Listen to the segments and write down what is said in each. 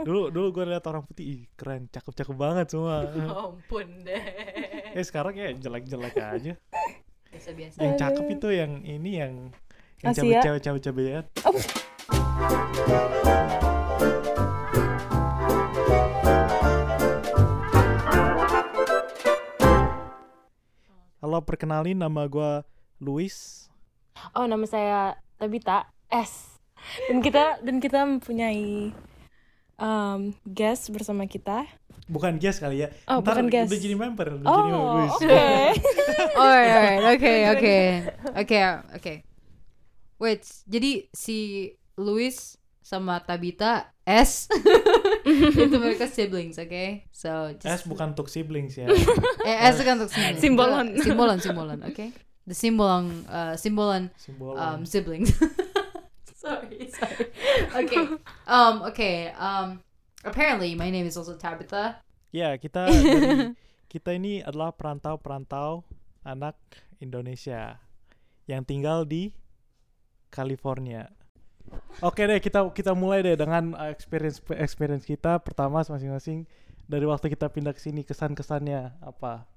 dulu dulu gue lihat orang putih ih keren cakep cakep banget semua ampun deh eh sekarang ya jelek jelek aja biasa biasa yang Aduh. cakep itu yang ini yang yang Asia. cewek cewek cewek cewek ya Halo, perkenalin nama gue Luis. Oh, nama saya Tabita S. Dan kita dan kita mempunyai um, guest bersama kita. Bukan guest kali ya. Oh, Ntar bukan guest. Udah jadi member, udah jadi Oh, Luis. oke. Alright, alright, oke, oke, oke, oke. uh, Wait, jadi si Louis sama Tabita S itu mereka siblings, oke? So S just bukan untuk siblings ya. eh, S kan untuk siblings. Simbolon. simbolon, simbolon, oke? The simbolon, uh, simbolon Simbol. um, siblings. sorry, sorry. Okay, um, okay. Um, apparently my name is also Tabitha. Ya, kita dari- kita ini adalah perantau-perantau anak Indonesia yang tinggal di California. Oke deh, kita kita mulai deh dengan uh, experience experience kita pertama masing-masing dari waktu kita pindah ke sini kesan-kesannya apa?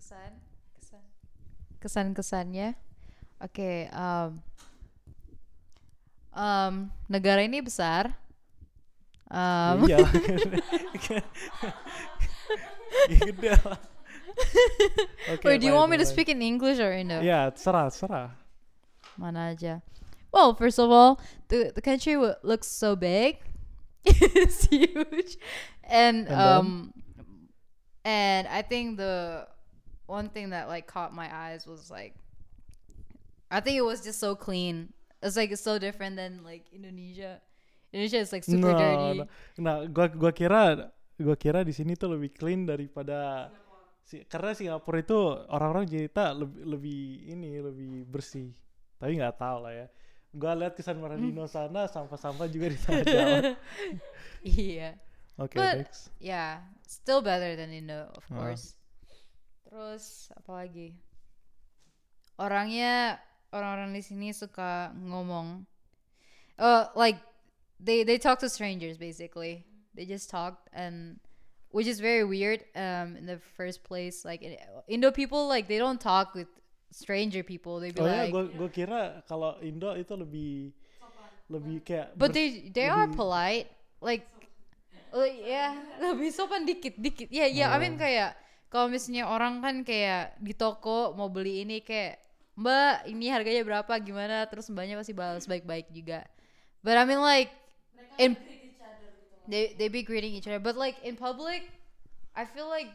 kesan kesan kesan kesannya oke um, um, negara ini besar um, Iya. Gede lah. Oke, wait do you baik, want me to baik. speak in English or in the Ya, serah, serah. mana aja well first of all the the country w- looks so big it's huge And and, then? um and I think the one thing that like caught my eyes was like I think it was just so clean. It's like it's so different than like Indonesia. Indonesia is like super No, dirty. no. Nah, gua gua kira gua kira di sini tuh lebih clean daripada si karena Singapura itu orang-orang cerita lebih lebih ini lebih bersih. Tapi nggak tahu lah ya. Gua lihat kesan Maradino Hmm. sana sampah-sampah juga di tengah jalan. Yeah. Oke, But- next. Yeah. Still better than Indo, of Ah. course. Terus apalagi? Orangnya orang-orang di sini suka ngomong. Uh, like they they talk to strangers basically. They just talk and which is very weird um in the first place like in- Indo people like they don't talk with stranger people. They be Oh ya, like gua gua kira kalau Indo itu lebih lebih kayak But bers- they they are polite. Like like yeah, lebih sopan dikit dikit. Ya ya, I mean kayak kalau misalnya orang kan kayak di toko mau beli ini kayak Mbak, ini harganya berapa? Gimana? Terus mbaknya pasti balas baik-baik juga. But I mean like in they they be greeting each other. But like in public, I feel like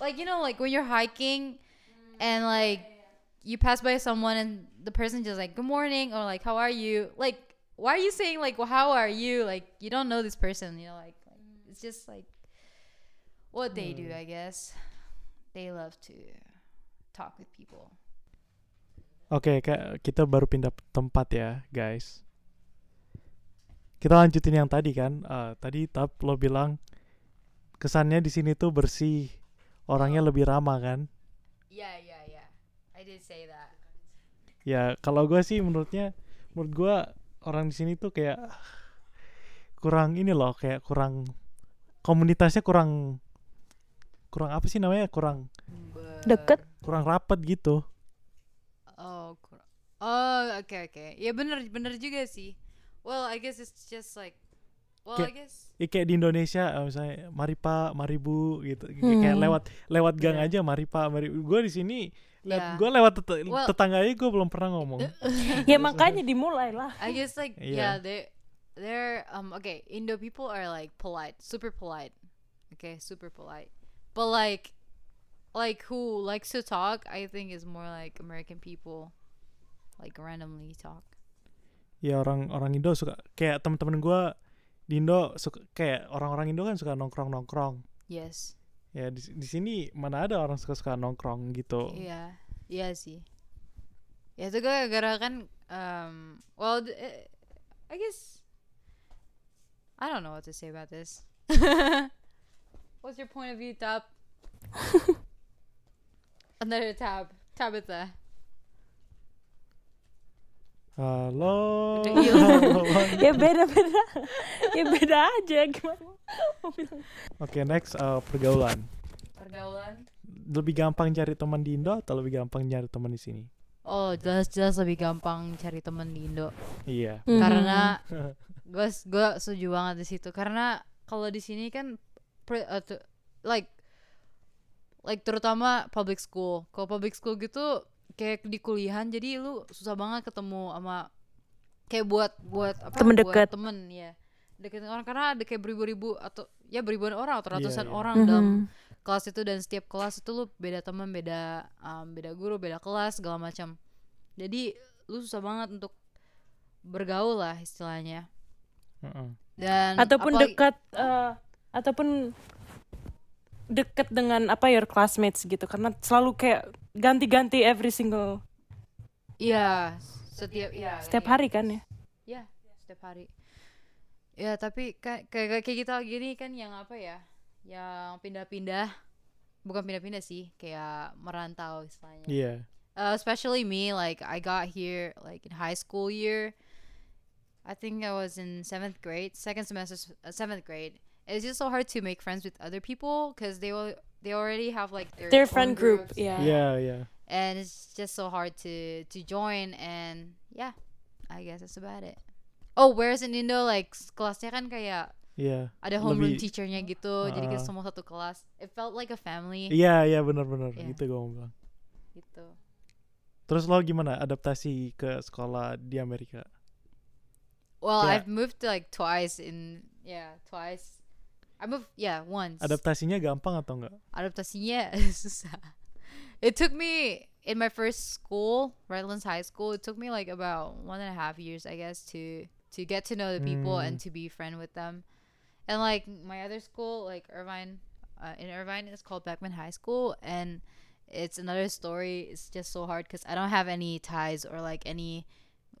like you know like when you're hiking and like you pass by someone and the person just like good morning or like how are you like why are you saying like well, how are you like you don't know this person you know like, like, it's just like what they do i guess they love to talk with people Oke, Kak, kita baru pindah tempat ya, guys. Kita lanjutin yang tadi kan. Eh, tadi Tap lo bilang kesannya di sini tuh bersih, orangnya lebih ramah kan? yeah yeah yeah i did say that Ya, kalau gue sih menurutnya menurut gue orang di sini tuh kayak kurang ini loh, kayak kurang komunitasnya kurang kurang apa sih namanya? Kurang Deket. kurang rapat gitu. Oh, kur- oh, okay, okay. Ya bener, bener juga sih. Well, I guess it's just like, well, I Kayak- guess. Ya, kayak di Indonesia eh, misalnya mari pak mari bu gitu Kayak- kayak Hmm. lewat lewat gang aja mari pak mari gue di sini Ya. lihat gue lewat tete- Well- tetangga aja gue belum pernah ngomong ya makanya dimulailah. I guess like Yeah. yeah, they they're um okay, Indo people are like polite, super polite. Okay, super polite. But like like who likes to talk, I think is more like American people like randomly talk. ya orang orang Indo suka kayak temen-temen gue di Indo suka kayak orang-orang Indo kan suka nongkrong nongkrong Yes. ya di, di sini mana ada orang suka suka nongkrong gitu Iya, iya sih. Ya itu gara-gara kan, um, well, d- eh, I guess I don't know what to say about this. What's your point of view, Tab? Another tab, Tabitha. Halo. Udah Halo, Wan. ya beda beda ya beda aja gimana mau bilang Oke, next eh, pergaulan. Pergaulan. Lebih gampang cari teman di Indo atau lebih gampang nyari teman di sini? Oh jelas-jelas lebih gampang cari temen di Indo Iya. Hmm. karena Hmm. gue gue setuju banget di situ karena kalau di sini kan pre- uh, tu- like like terutama public school kalau public school gitu kayak di kuliahan jadi lu susah banget ketemu sama kayak buat buat apa Temen buat deket. temen ya deketin orang karena ada kayak beribu-ribu atau ya beribuan orang atau Iya, ratusan iya. orang Mm-hmm. dalam Mhm. kelas itu dan setiap kelas itu lu beda teman beda um, beda guru beda kelas segala macam jadi lu susah banget untuk bergaul lah istilahnya Heeh. dan ataupun apalagi- dekat eh, ataupun dekat dengan apa your classmates gitu karena selalu kayak ganti-ganti every single iya setiap iya setiap iya. hari kan ya ya setiap hari ya tapi kayak kayak kayak kita gini kan yang apa ya yang pindah-pindah bukan pindah-pindah sih kayak merantau istilahnya Iya. uh, especially me like i got here like in high school year i think i was in seventh grade second semester s- uh, seventh grade it's just so hard to make friends with other people because they will they already have like their, their own friend group groups, ya Iya, iya. and it's just so hard to to join and yeah i guess that's about it oh whereas in indo like s- kelasnya kan kayak Iya. ada homeroom Lebih- teachernya gitu jadi kita Ah. semua satu kelas it felt like a family Iya, iya benar-benar Iya. gitu gue mau bilang. gitu Terus lo gimana adaptasi ke sekolah di Amerika? Well, Yeah. I've moved like twice in yeah, twice. I moved yeah, once. Adaptasinya gampang atau enggak? Adaptasinya susah. It took me in my first school, Redlands High School, it took me like about one and a half years, I guess, to to get to know the people Mm. and to be friend with them. And like my other school, like Irvine, uh, in Irvine, it's called Beckman High School, and it's another story. It's just so hard because I don't have any ties or like any,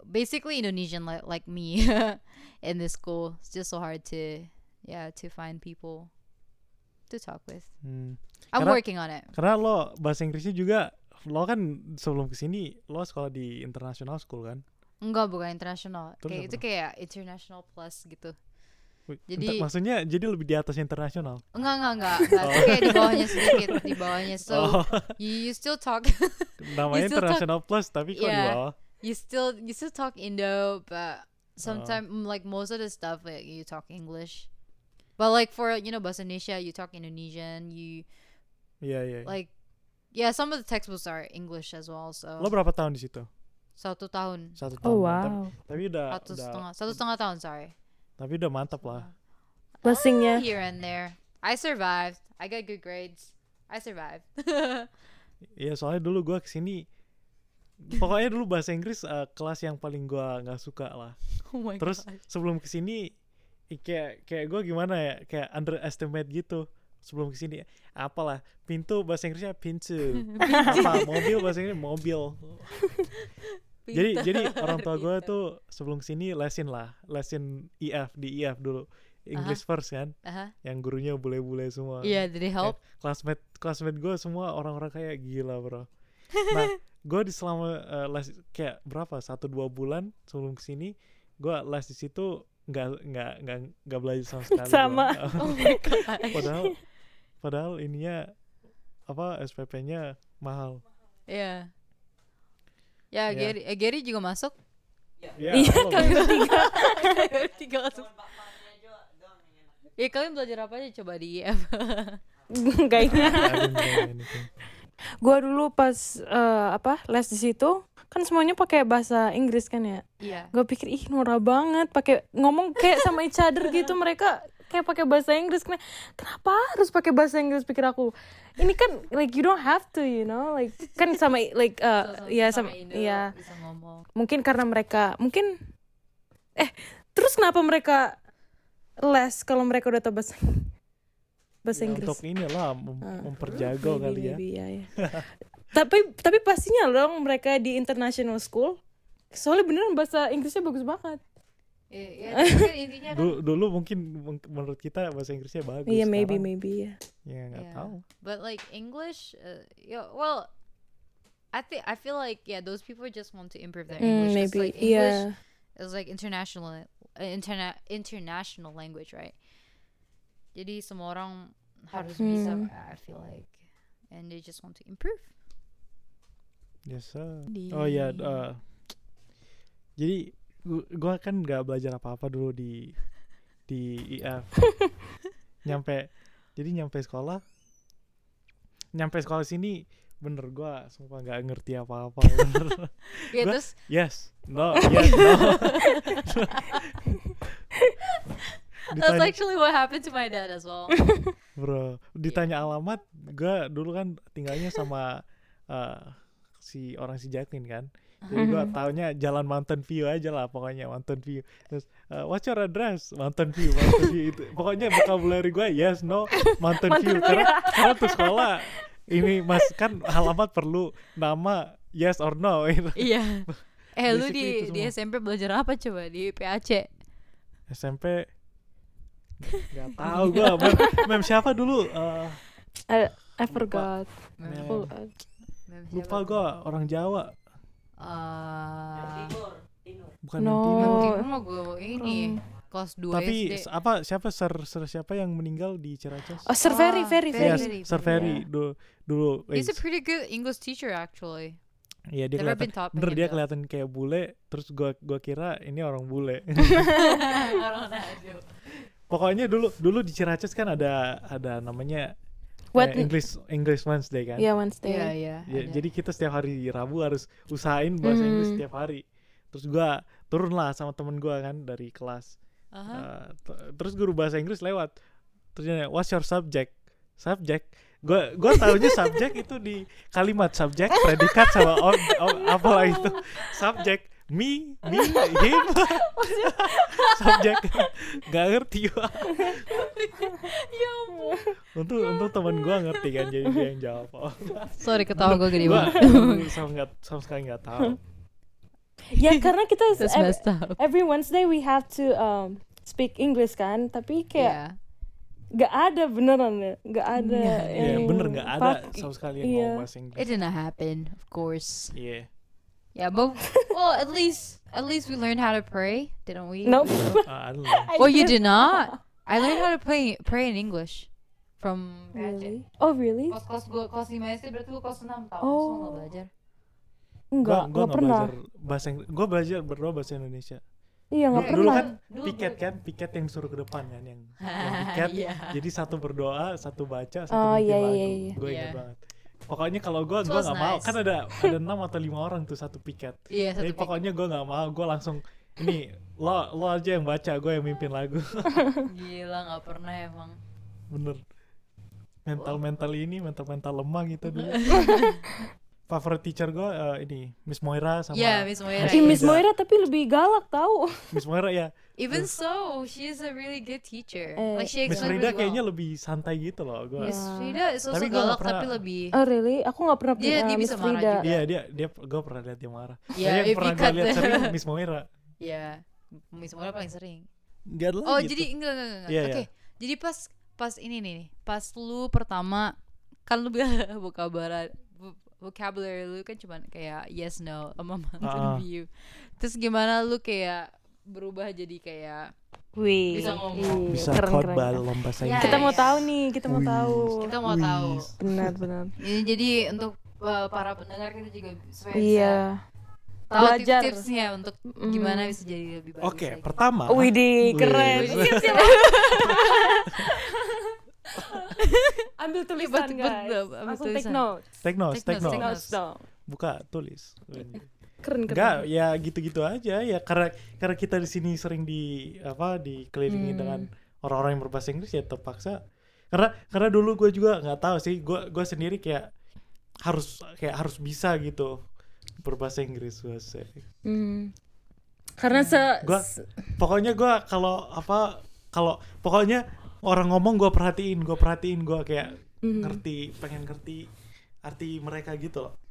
basically Indonesian like like me, in this school. It's just so hard to, yeah, to find people, to talk with. Hmm. I'm Karena- working on it. Karena lo bahasa Inggrisnya juga lo kan sebelum kesini lo sekolah di international school kan? Enggak, bukan internasional. Terus Kayak apa itu dong? kayak international plus gitu. Wih, Jadi- entar- maksudnya jadi lebih di atas internasional. Enggak, enggak, enggak. enggak. Itu kayak di bawahnya sedikit, di bawahnya. So oh, you, you still talk, namanya you still talk- international plus tapi kok di Iya. bawah. you still you still talk Indo, but sometimes Oh. like most of the stuff like you talk English. But like for you know Bahasa Indonesia, you talk Indonesian. You Iya, iya. iya. like yeah, some of the textbooks are English as well. So Lo berapa tahun di situ? satu tahun, Satu tahun. oh mantap. wow Tapi udah, satu udah- setengah, satu setengah tahun. Sorry. Ah, tapi udah mantap lah. blessingnya Here and there, I survived. I got good grades. I survived. Iya, soalnya dulu gua kesini pokoknya dulu bahasa Inggris eh, kelas yang paling gua nggak suka lah. oh my Terus sebelum kesini i- kayak kayak gue gimana ya kayak underestimate gitu sebelum kesini apalah pintu bahasa Inggrisnya pintu apa mobil bahasa Inggris mobil jadi jadi orang tua gue tuh sebelum kesini lesin lah lesin IF di IF dulu English first kan Uh-huh. yang gurunya bule-bule semua Yeah, did it help? classmate classmate gue semua orang-orang kayak gila bro nah gue di selama eh, les kayak berapa satu dua bulan sebelum kesini gue les di situ nggak nggak nggak nggak belajar sama sekali bro. Sama. Oh my god. padahal padahal ininya apa SPP-nya mahal yeah. Ya, Yeah. Gary, eh, Gary juga masuk. Iya, Iya, apa, bro? Tiga masuk. Ya kalian belajar apa aja coba di E IF. kayaknya I don't know anything. gue dulu pas eh, apa les di situ kan semuanya pakai bahasa Inggris kan ya Iya. gue pikir ih norak banget pakai ngomong kayak sama each other gitu mereka kayak pakai bahasa Inggris Ken- kenapa harus pakai bahasa Inggris pikir aku ini kan like you don't have to you know like kan sama like uh, ya sama Indo ya bisa ngomong. mungkin karena mereka mungkin eh terus kenapa mereka les kalau mereka udah tahu bahasa bahasa Ya, Inggris untuk inilah mem- Ah. memperjago Maybe, kali ya maybe, ya, ya. tapi tapi pastinya dong mereka di international school soalnya beneran bahasa Inggrisnya bagus banget Iya, iya, tapi kan intinya kan dulu, dulu mungkin men- menurut kita bahasa Inggrisnya bagus iya maybe sekarang maybe ya ya nggak Iya. tahu But like English, uh, yeah, well, I think I feel like yeah, those people just want to improve their Mm, English. 'cause, maybe like, English yeah is like international uh, interna international language, right? Jadi semua orang harus bisa. I feel like, and they just want to improve. Yes, sir. Oh ya, eh, jadi gu- gua kan nggak belajar apa-apa dulu di di IF. nyampe, jadi nyampe sekolah, nyampe sekolah sini bener gua sumpah nggak ngerti apa-apa. bener. Ya Gua- terus yes, no, yes, no. that's Ditanya- actually what happened to my dad as well. Bro, ditanya alamat, gua dulu kan tinggalnya sama eh, si orang si Jatin kan. Jadi gua taunya jalan Mountain View aja lah pokoknya Mountain View. Terus eh, what's your address? Mountain View, Mountain View itu. Pokoknya vocabulary gua yes no Mountain View karena karena tuh sekolah ini Mas kan alamat perlu nama yes or no gitu. Iya. Eh lu Basically di itu di semua. SMP belajar apa coba di PAC? SMP Gak tau gua mem, mem siapa dulu Eh, I, I forgot mem- Oh, lupa gua orang Jawa Ah. bukan No. Mentina. Mungkin mah gue ini kelas 2 Tapi SD. s- apa siapa ser, ser siapa yang meninggal di Ciracas? oh Sir Ferry Ah, Ferry Yes, Ferry Ferry. Sir Ferry du- dulu. He's Iya a pretty good English teacher actually. dia Never kelihatan. been taught by Bener him, dia though. kelihatan kayak bule, terus gua gua kira ini orang bule. Orang Nado. Pokoknya dulu dulu di Ciracas kan ada ada namanya What- eh, English English Wednesday kan. yeah Wednesday Iya, iya. Ya, ada. jadi kita setiap hari Rabu harus usahain bahasa Hmm. Inggris setiap hari. Terus gua turun lah sama temen gua kan dari kelas. Aha. Eh, t- terus guru bahasa Inggris lewat. Terus dia nanya, "What's your subject?" Subject. Gua gua taunya subject itu di kalimat subject, predikat sama ob, ob- apalah itu. Subject me, me, him. subject. Gak ngerti gua. Ya ampun. Untung untung teman gua ngerti kan jadi dia yang jawab. Oh, Sorry ketawa gue gede gua banget. gua sama nggak sama sekali nggak tahu. ya karena kita That's ev- messed up. every Wednesday we have to um, speak English kan tapi kayak Yeah. nggak ada beneran ya nggak ada Iya, yang bener nggak ada pak- sama sekali yang Eh, iya. ngomong bahasa It Inggris. didn't happen, of course. Iya. Yeah, but well, at least at least we learned how to pray, didn't we? nope Ah, I don't know. Well, Oh, you did not. I learned how to play pray in English from really oh really kelas kelas gue kelas lima SD berarti gue kelas enam tahun Oh. nggak belajar. Gua- nggak gua nggak nggak pernah belajar bahasa Inggris. Gua belajar berdua bahasa Indonesia. iya nggak Dulu- dulu pernah kan piket kan, piket yang suruh ke depan kan yang, yang piket. Iya. Jadi satu berdoa, satu baca, satu Oh, bikin iya, lagu. iya, iya. Gue Iya. ingat banget. Pokoknya kalau gue, It gue was nggak mau. nice. Kan ada ada enam atau lima orang tuh satu piket. Iya, satu Jadi piket. pokoknya gue nggak mau. Gue langsung ini lo lo aja yang baca, gue yang mimpin lagu. Gila nggak pernah emang. Bener. Mental mental ini mental mental lemah gitu dulu. Favorite teacher gue ini Miss Moira sama Yeah, Miss Moira. Ih, Miss Iya. Moira tapi lebih galak tau Miss Moira ya. Even so, she is a really good teacher. Eh, like she Miss explained Frida really well. kayaknya lebih santai gitu loh. Gua. Miss Frida is also Tapi gua nggak galak pernah- tapi lebih. oh really aku nggak pernah Dia- punya dia Miss bisa marah Frida juga. Iya dia dia gue pernah lihat dia marah. Iya, Tapi yang if pernah you gue cut lihat the- sering Miss Moira. Ya, Miss Moira paling sering. Dia adalah Oh gitu. jadi enggak enggak enggak. Iya, Oke, iya. jadi pas pas ini nih, nih, pas lu pertama kan lu bilang vocabulary vo- vocabulary lu kan cuman kayak yes no sama Ah. mountain view. Terus gimana lu kayak berubah jadi kayak Wih, Bisa iya, ngomong. bisa keren, khotbah keren. lomba sains. Iya, Kita mau iya. tahu nih, kita mau Wih. tahu. kita mau tahu. Wih. Benar, benar. Ini jadi untuk uh, para pendengar kita juga supaya Iya. bisa tahu Belajar. Mm. tips-tipsnya untuk gimana bisa jadi lebih bagus. Oke, lagi. pertama. Wih. Widih, Mm. keren. Siap-siap. Ambil tulisan, guys. Langsung take notes. Take notes, take Take notes, take notes. notes. Buka, tulis. Keren, keren. Enggak, ya gitu-gitu aja ya karena karena kita di sini sering di apa dikelilingi Hmm. dengan orang-orang yang berbahasa Inggris ya terpaksa karena karena dulu gue juga nggak tahu sih gue gue sendiri kayak harus kayak harus bisa gitu berbahasa Inggris gue Hmm. Karena se gua pokoknya gua kalau apa kalau pokoknya orang ngomong gua perhatiin gua perhatiin gua kayak Mhm. ngerti pengen ngerti arti mereka gitu loh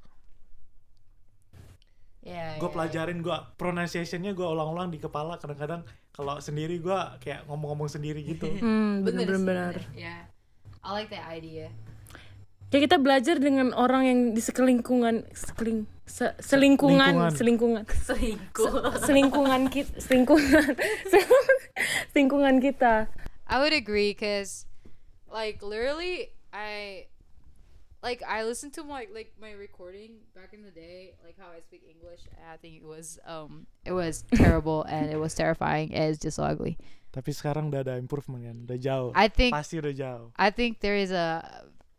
Iya, gue iya. pelajarin gua pronunciationnya gua ulang-ulang di kepala kadang-kadang kalau sendiri gua kayak ngomong-ngomong sendiri gitu hmm, Bener sih, benar-benar. bener. Iya. I like that idea. Kayak kita belajar dengan orang yang di sekelingkungan, sekeling, se- selingkungan, Lingkungan. selingkungan, selingkuh selingkungan kita, selingkungan, selingkungan kita. I would agree because like literally I like I listened to my like my recording back in the day like how I speak English and I think it was um it was terrible and it was terrifying and it's just so ugly. Tapi sekarang udah ada improvement kan, udah jauh. I think Pasti udah jauh. I think there is a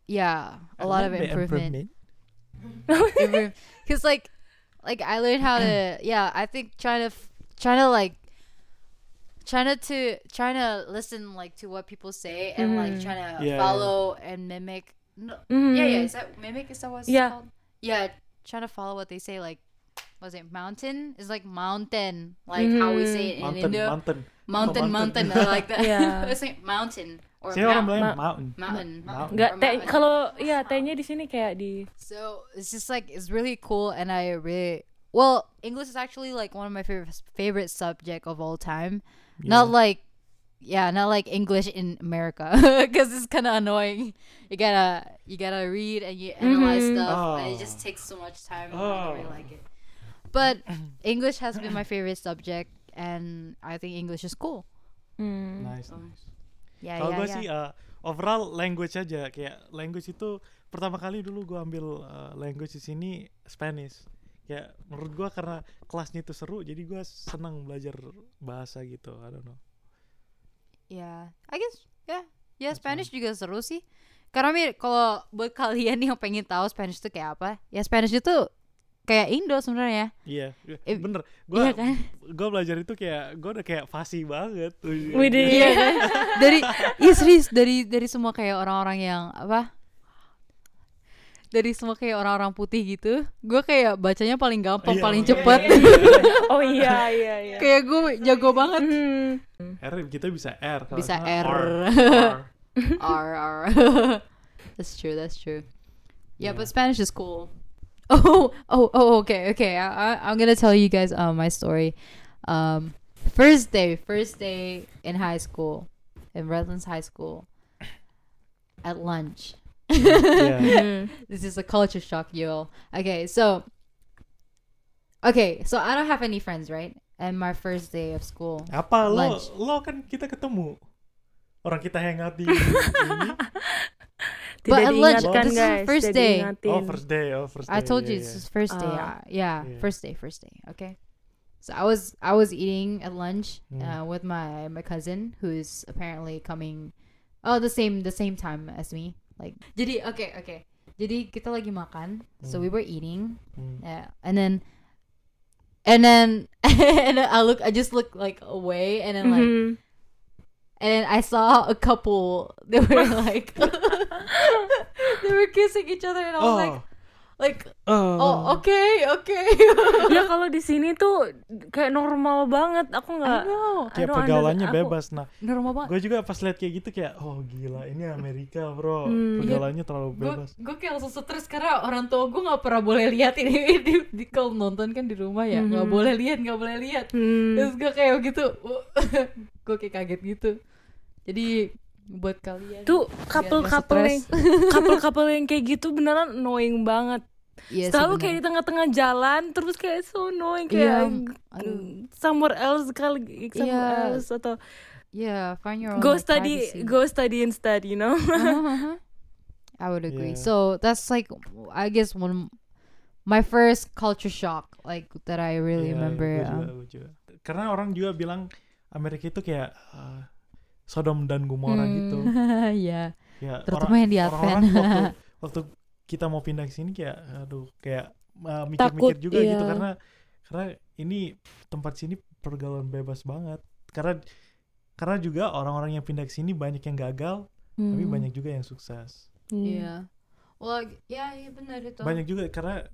yeah, a lot of improvement. Cuz like like I learned how to yeah, I think trying to f- trying to like trying to trying to listen like to what people say and like trying to Mm-hmm. Yeah, Mm-hmm. yeah. follow and mimic no, Hmm. Yeah, yeah. Is that mimic? Is that what it's Yeah. called? Yeah. Trying to follow what they say, like, was it mountain? It's like mountain, like how we say it in Mm-hmm. Mountain, Indo. mountain. Mountain, mountain, I like that. Yeah. it's like mountain or Sini orang mount- bilang mountain. mountain. Mountain. Nggak, or te- mountain. kalau ya tehnya di sini kayak di So it's just like it's really cool, and I really well English is actually like one of my favorite favorite subject of all time. Not like yeah, not like English in America because it's kind of annoying. You gotta you gotta read and you analyze stuff, and it just takes so much time. And I don't really Oh. like it. But English has been my favorite subject, and I think English is cool. hmm. Nice, Oh. nice. Yeah, Kalau yeah, gue yeah. sih uh, overall language aja kayak language itu pertama kali dulu gue ambil uh, language di sini Spanish. Ya menurut gue karena kelasnya itu seru jadi gue senang belajar bahasa gitu. I don't know. Ya, I guess ya. Ya Spanish juga seru sih. Karena mir kalau buat kalian yang pengen tahu Spanish itu kayak apa, ya Spanish itu kayak Indo sebenarnya. Iya, Eh, bener. Gue iya kan? gua belajar itu kayak gue udah kayak fasih banget. Widih. Iya kan? dari iya serius dari dari semua kayak orang-orang yang apa? Dari semua kayak orang-orang putih gitu, gue kayak bacanya paling gampang, Iya, paling iya, cepet. Oh iya iya iya. kayak gue jago banget. Hmm. R kita bisa R. kalau Bisa nggak R. R. R R. that's true. That's true. Yeah, Yeah. but Spanish is cool. Oh oh oh. Okay okay. I, I I'm gonna tell you guys uh, my story. Um, first day, first day in high school, in Redlands High School. At lunch, Iya. this is a culture shock, y'all. Okay, so. Okay, so I don't have any friends, right? And my first day of school. Apa lo? Lunch. Lo kan kita ketemu. Orang kita hangout di ini. Tidak at lunch, diingatkan this is guys. first tidak day. diingatin. Oh first day, oh first day. I told iya, you iya. this is first day. Oh. uh, yeah, Yeah. first day, first day. Okay. So I was I was eating at lunch Mm. uh, with my my cousin who's apparently coming oh the same the same time as me. Like Jadi okay, okay. Jadi kita lagi makan. So Mm. we were eating. Hmm. Yeah, and then and then and then I look I just look like away and then like Mhm. and I saw a couple they were like they were kissing each other and I was Oh. like like Oh. Oh, okay, okay. ya kalau di sini tuh kayak normal banget. Aku nggak. no. I Kayak don't pergaulannya under- aku- bebas. Nah, Normal banget. gue juga pas lihat kayak gitu kayak, oh gila, ini Amerika bro. iya. Hmm. Pergaulannya terlalu bebas. Gue kayak langsung stres karena orang tua gue nggak pernah boleh lihat ini di, di- kalau nonton kan di rumah ya nggak Mhm. boleh lihat nggak boleh lihat Hmm. terus gue kayak gitu gue kayak kaget gitu jadi buat kalian Tuh biar nggak couple-couple stres. yang couple-couple yang kayak gitu beneran annoying banget. Iya sih, Selalu benar. kayak di tengah-tengah jalan terus kayak so annoying Iya, kayak aduh. somewhere else kali somewhere Iya. else atau yeah find your own go like, study privacy. go study instead, you know. Uh-huh, uh-huh. I would agree. Yeah. So that's like I guess one my first culture shock like that I really Iya, remember. gua juga, um, gua juga. Karena orang juga bilang Amerika itu kayak eh, Sodom dan Gomora gitu. yeah. Ya, Hmm. Terutama yang di Advent. orang-orang waktu, waktu kita mau pindah ke sini kayak aduh kayak uh, mikir-mikir Takut, juga gitu iya. karena karena ini tempat sini pergaulan bebas banget. Karena karena juga orang-orang yang pindah ke sini banyak yang gagal, tapi Mm. banyak juga yang sukses. Iya. Well, ya, ya benar itu. Banyak juga karena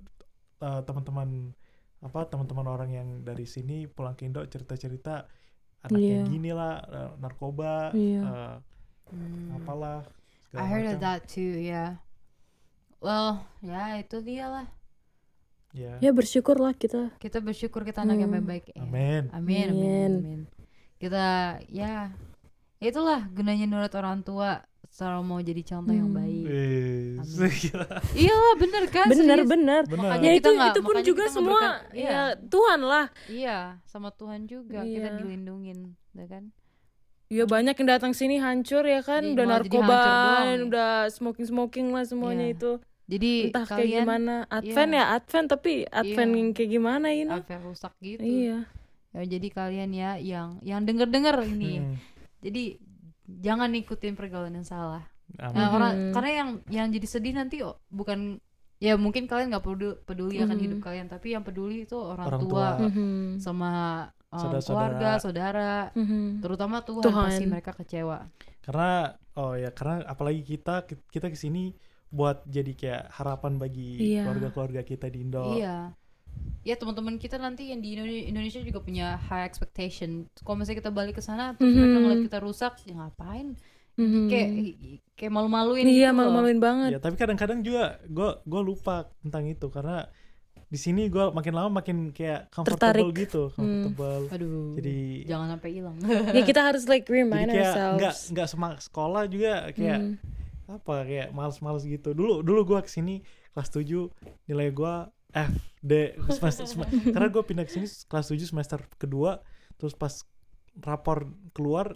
uh, teman-teman apa teman-teman orang yang dari sini pulang ke Indo cerita-cerita anaknya Iya. gini lah uh, narkoba Iya. uh, apalah segala Hmm. I heard of macam. that too, yeah. Well, ya itu dia lah. Ya. Ya bersyukurlah kita. Kita bersyukur kita anak yang Hmm. baik-baik. ya. Amin. Amin, amin, Amin. amin. Kita ya itulah gunanya nurut orang tua selalu mau jadi contoh yang Hmm. baik. Wis. Iya lah bener kan? bener serius. bener Bener. Makanya Ah, ya kita itu nggak- itu pun makanya juga kita semua memberikan- iya. ya Tuhan lah Iya, sama Tuhan juga kita Iya. dilindungin, ya kan? ya banyak yang datang sini hancur ya kan Jadi udah Iya, malah jadi narkoba hancur doang. udah smoking smoking lah semuanya Iya. itu Jadi entah kayak kalian gimana advent iya. ya advent tapi advent Iya. yang kayak gimana ini apa rusak gitu. iya Ya, jadi kalian ya yang yang denger-denger ini. Hmm, Jadi jangan ngikutin pergaulan yang salah. Nah, Amin. orang Mhm. karena yang yang jadi sedih nanti oh, bukan ya mungkin kalian nggak peduli, peduli akan Mhm. hidup kalian, tapi yang peduli itu orang, Orang tua, tua. Mhm. sama um, Saudara-saudara. keluarga, saudara, Mhm. terutama Tuhan, Tuhan. pasti mereka kecewa. Karena oh ya karena apalagi kita kita kesini buat jadi kayak harapan bagi Iya. keluarga-keluarga kita di Indo. Iya. Ya teman-teman kita nanti yang di Indone- Indonesia juga punya high expectation. Kalau misalnya kita balik ke sana terus mereka Mhm. ngeliat kita rusak, ya ngapain? Mhm. Kayak kayak malu-maluin iya gitu loh. malu-maluin banget Ya, tapi kadang-kadang juga gue gue lupa tentang itu karena di sini gue makin lama makin kayak comfortable Tertarik. Hmm. gitu, comfortable. Aduh. Jadi jangan sampai hilang. ya kita harus like Iya. jadi remind kayak nggak ourselves nggak semangat sekolah juga kayak Mhm. apa kayak males-males gitu. Dulu dulu gue kesini kelas 7 nilai gue F D semester, sem- karena gue pindah kesini kelas 7 semester kedua terus pas rapor keluar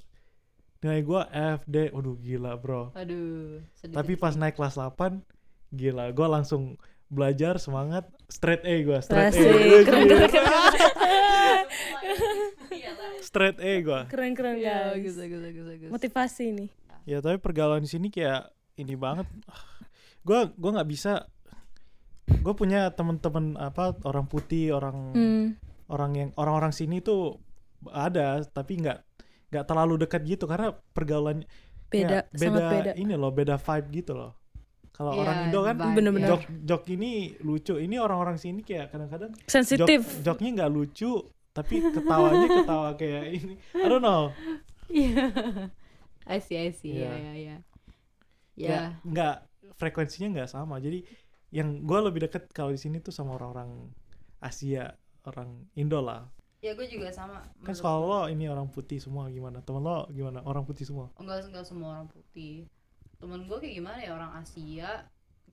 nilai gue F D. Waduh gila bro. Aduh, sedih. Tapi gitu. pas naik kelas 8 gila gue langsung belajar semangat straight A gue straight A Iya, Asik. Gua Keren, jadi keren, keren. straight A gue keren keren ya, guys gitu, gitu, gitu, gitu. motivasi nih ya tapi pergaulan di sini kayak ini banget gue gua nggak bisa gue punya temen-temen apa orang putih orang Hmm. orang yang orang-orang sini tuh ada tapi nggak nggak terlalu dekat gitu karena pergaulan beda ya, sangat beda ini loh beda vibe gitu loh kalau Iya, orang Indo kan vibe, Bener-bener. jok jok ini lucu ini orang-orang sini kayak kadang-kadang sensitif Jok- joknya nggak lucu tapi ketawanya ketawa kayak ini I don't know Iya. I see, I see. Iya. Ya, ya, ya. Ya. Kayak nggak frekuensinya nggak sama jadi yang gue lebih deket kalau di sini tuh sama orang-orang Asia orang Indo lah Ya gue juga sama. kan menurut sekolah lo ini orang putih semua gimana temen lo gimana orang putih semua enggak enggak semua orang putih temen gue kayak gimana ya orang Asia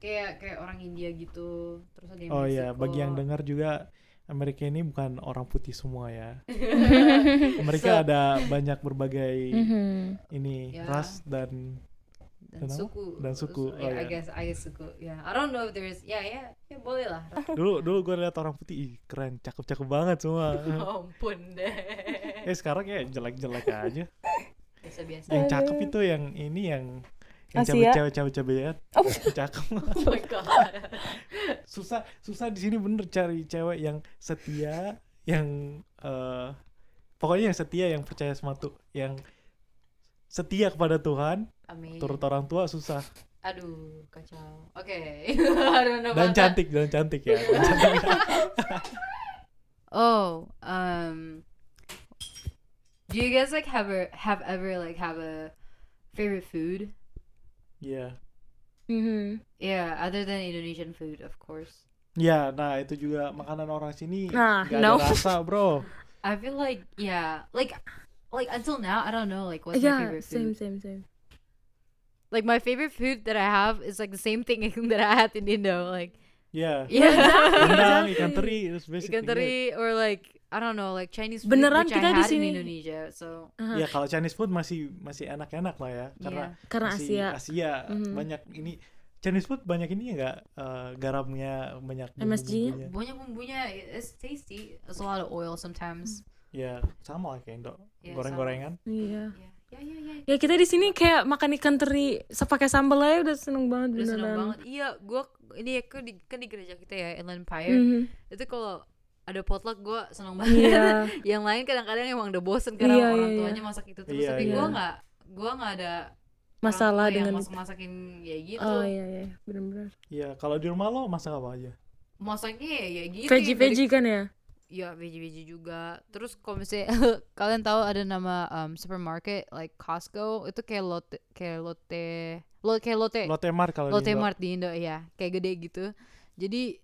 kayak kayak orang India gitu terus ada yang oh iya Meksiko. bagi yang dengar juga Amerika ini bukan orang putih semua ya So- mereka ada banyak berbagai Mhm. ini Ya. ras dan Dan dan apa? suku Dan suku, oh Terus, ya, I iya. guess I guess suku ya I don't know if there is ya ya ya boleh lah dulu dulu gue lihat orang putih Ih, keren cakep cakep banget semua ampun deh eh sekarang ya jelek jelek aja biasa biasa yang cakep itu yang ini yang yang Asia? cewek-cewek cewek-cewek ya cakep oh my god susah susah di sini bener cari cewek yang setia yang eh pokoknya yang setia yang percaya sama tuh yang setia kepada Tuhan amin turut orang tua susah aduh kacau oke I don't dan know about that. cantik dan cantik ya dan cantik. Oh, um, do you guys like have a have ever like have a favorite food? Iya. Mhm. Yeah, other than Indonesian food, of course. ya nah itu juga makanan orang sini Nah, nggak no. ada rasa bro I feel like yeah, like like until now I don't know like what's my yeah favorite Iya, same food. same same Like my favorite food that I have is like the same thing that I had in Indo. Like Iya. ya yeah, rendang ikan teri terus basic ikan teri or like I don't know like Chinese food Beneran which kita di I had in sini. Indonesia. So ya kalau Chinese food masih masih enak-enak lah ya karena yeah. karena Masih Asia Asia Mhm. banyak ini Chinese food banyak ini enggak garamnya banyak bumbu-bumbunya. MSG-nya? Banyak bumbunya, it's tasty. It's a lot of oil sometimes. Ya, sama lah kayak Indo. Iya, Goreng-gorengan. iya Yeah, yeah, yeah, yeah. ya kita di sini kayak makan ikan teri se- pakai sambal aja udah seneng banget Udah seneng beneran banget. Iya, gua ini ya, kan di, kan di gereja kita ya, Inland Empire. Mhm. Itu kalau ada potluck gua seneng banget. iya Yang lain kadang-kadang emang udah bosen karena Iya, orang iya, tuanya masak itu terus. Iya, iya. tapi gua nggak, gua nggak ada orang masalah tua yang dengan masak-masakin ya gitu. oh iya iya bener-bener Iya, kalau di rumah lo masak apa aja? Masaknya ya, ya gitu. veggie yang dari- veggie kan ya Ya veggie-veggie juga. Terus kalau misalnya kalian tahu ada nama um, supermarket like Costco itu kayak lote kayak lote lo kayak lote Lotte Mart kalau di Eh, Lotte Indo. Mart di Indo ya, kayak gede gitu. Jadi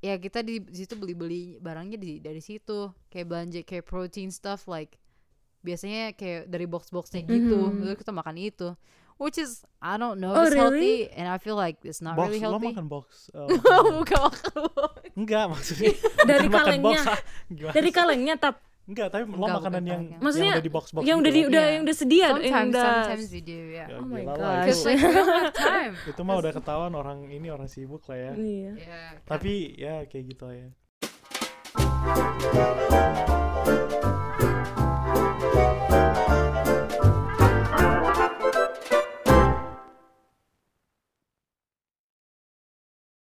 ya kita di situ beli-beli barangnya di dari situ, kayak belanja kayak protein stuff like biasanya kayak dari box-boxnya gitu. Mhm. Lalu kita makan itu. which is I don't know Oh, it's really? healthy and I feel like it's not box really lo healthy. Oh, makan box eh, Bukan makan box. enggak maksudnya Dari bukan makan box, kalengnya. ah. Gimana Dari sih? kalengnya tap. enggak tapi lo Enggak, makanan yang bukan kalengnya. yang Maksudnya udah di gitu box box yang udah di, udah yang udah sedia Iya, yang Iya. Sometimes udah sometimes we do yeah. oh my Because like we don't have time. itu mah udah ketahuan orang ini orang sibuk lah ya Iya. Yeah. tapi ya kayak gitu lah ya